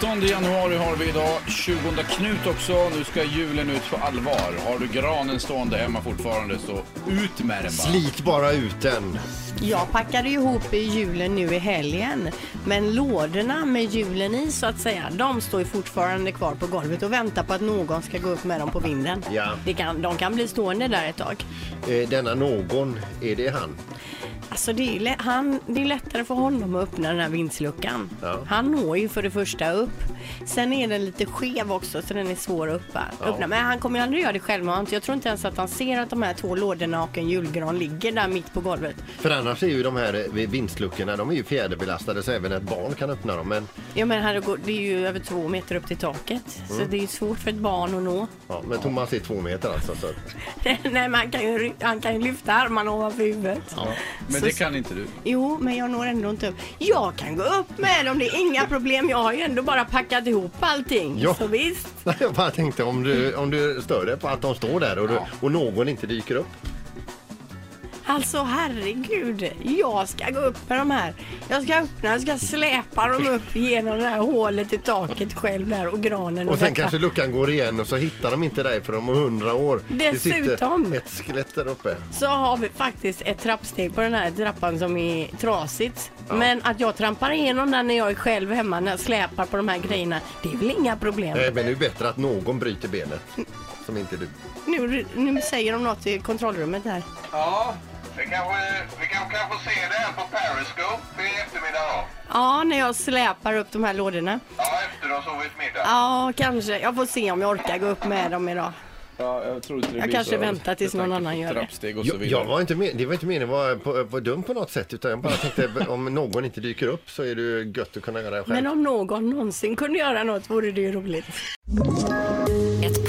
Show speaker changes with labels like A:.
A: 13 januari har vi idag, 20 Knut också. Nu ska julen ut på allvar. Har du granen stående hemma fortfarande så ut med den bara.
B: Slit bara ut den.
C: Jag packade ihop i julen nu i helgen, men lådorna med julen i så att säga, de står ju fortfarande kvar på golvet och väntar på att någon ska gå upp med dem på vinden.
B: Ja.
C: Det kan, de kan bli stående där ett tag.
B: Eh, Denna någon, är det han?
C: Alltså det är, lä- han, det är lättare för honom att öppna den här vindsluckan.
B: Ja.
C: Han når ju för det första upp. Sen är den lite skev också så den är svår att uppa, öppna. Men han kommer ju aldrig göra det självmant. Jag tror inte ens att han ser att de här två lådorna och en julgran ligger där mitt på golvet.
B: För annars är ju de här eh, vindsluckorna, de är ju fjäderbelastade så även ett barn kan öppna dem. Men,
C: Ja men här går, det är ju över två meter upp till taket. Så
B: Mm.
C: det är ju svårt för ett barn att nå.
B: ja, men Thomas är två meter alltså. Så.
C: Nej men han kan ju, ry- han kan ju lyfta armarna ovanför huvudet.
A: Men
C: Så-
A: det kan inte du.
C: Jo men jag når ändå inte upp. Jag kan gå upp med dem, det är inga problem. Jag har ju ändå bara packat ihop allting.
B: Ja.
C: Så visst.
B: Nej, Jag bara tänkte om du, om du stör dig på att de står där och, du,
A: Ja.
B: och någon inte dyker upp.
C: Alltså herregud, jag ska gå upp med de här. Jag ska öppna, jag ska släpa dem upp genom det här hålet i taket själv där och granen.
B: Och sen
C: detta.
B: kanske luckan går igen och så hittar de inte dig för om hundra år.
C: Dessutom.
B: Det sitter ett skelett där uppe.
C: så har vi faktiskt ett trappsteg på den här trappan som är trasigt. Men att jag trampar igenom den när jag är själv hemma när jag släpar på de här grejerna, det är väl inga problem.
B: Nej, men det är ju bättre att någon bryter benet. Som inte du.
C: Nu, nu säger de något i kontrollrummet här.
D: Vi kanske, vi kanske kan få se det här på Periscope i eftermiddag då.
C: Ja, när jag släpar upp de här lådorna.
D: Ja, efter och sovit middag.
C: Ja, kanske. Jag får se om jag orkar gå upp med dem idag.
A: Ja, jag tror inte det
C: Jag
A: blir
C: kanske
A: så.
C: väntar tills
A: Med
C: någon
A: tanke
C: annan
A: på
C: gör det.
A: Trappsteg och så
B: Jag,
A: vidare.
B: jag var inte med, det var inte meningen att vara på, på dum på något sätt utan jag bara tänkte om någon inte dyker upp så är det ju gött att kunna göra det själv.
C: Men om någon någonsin kunde göra något vore det ju roligt.
E: Ett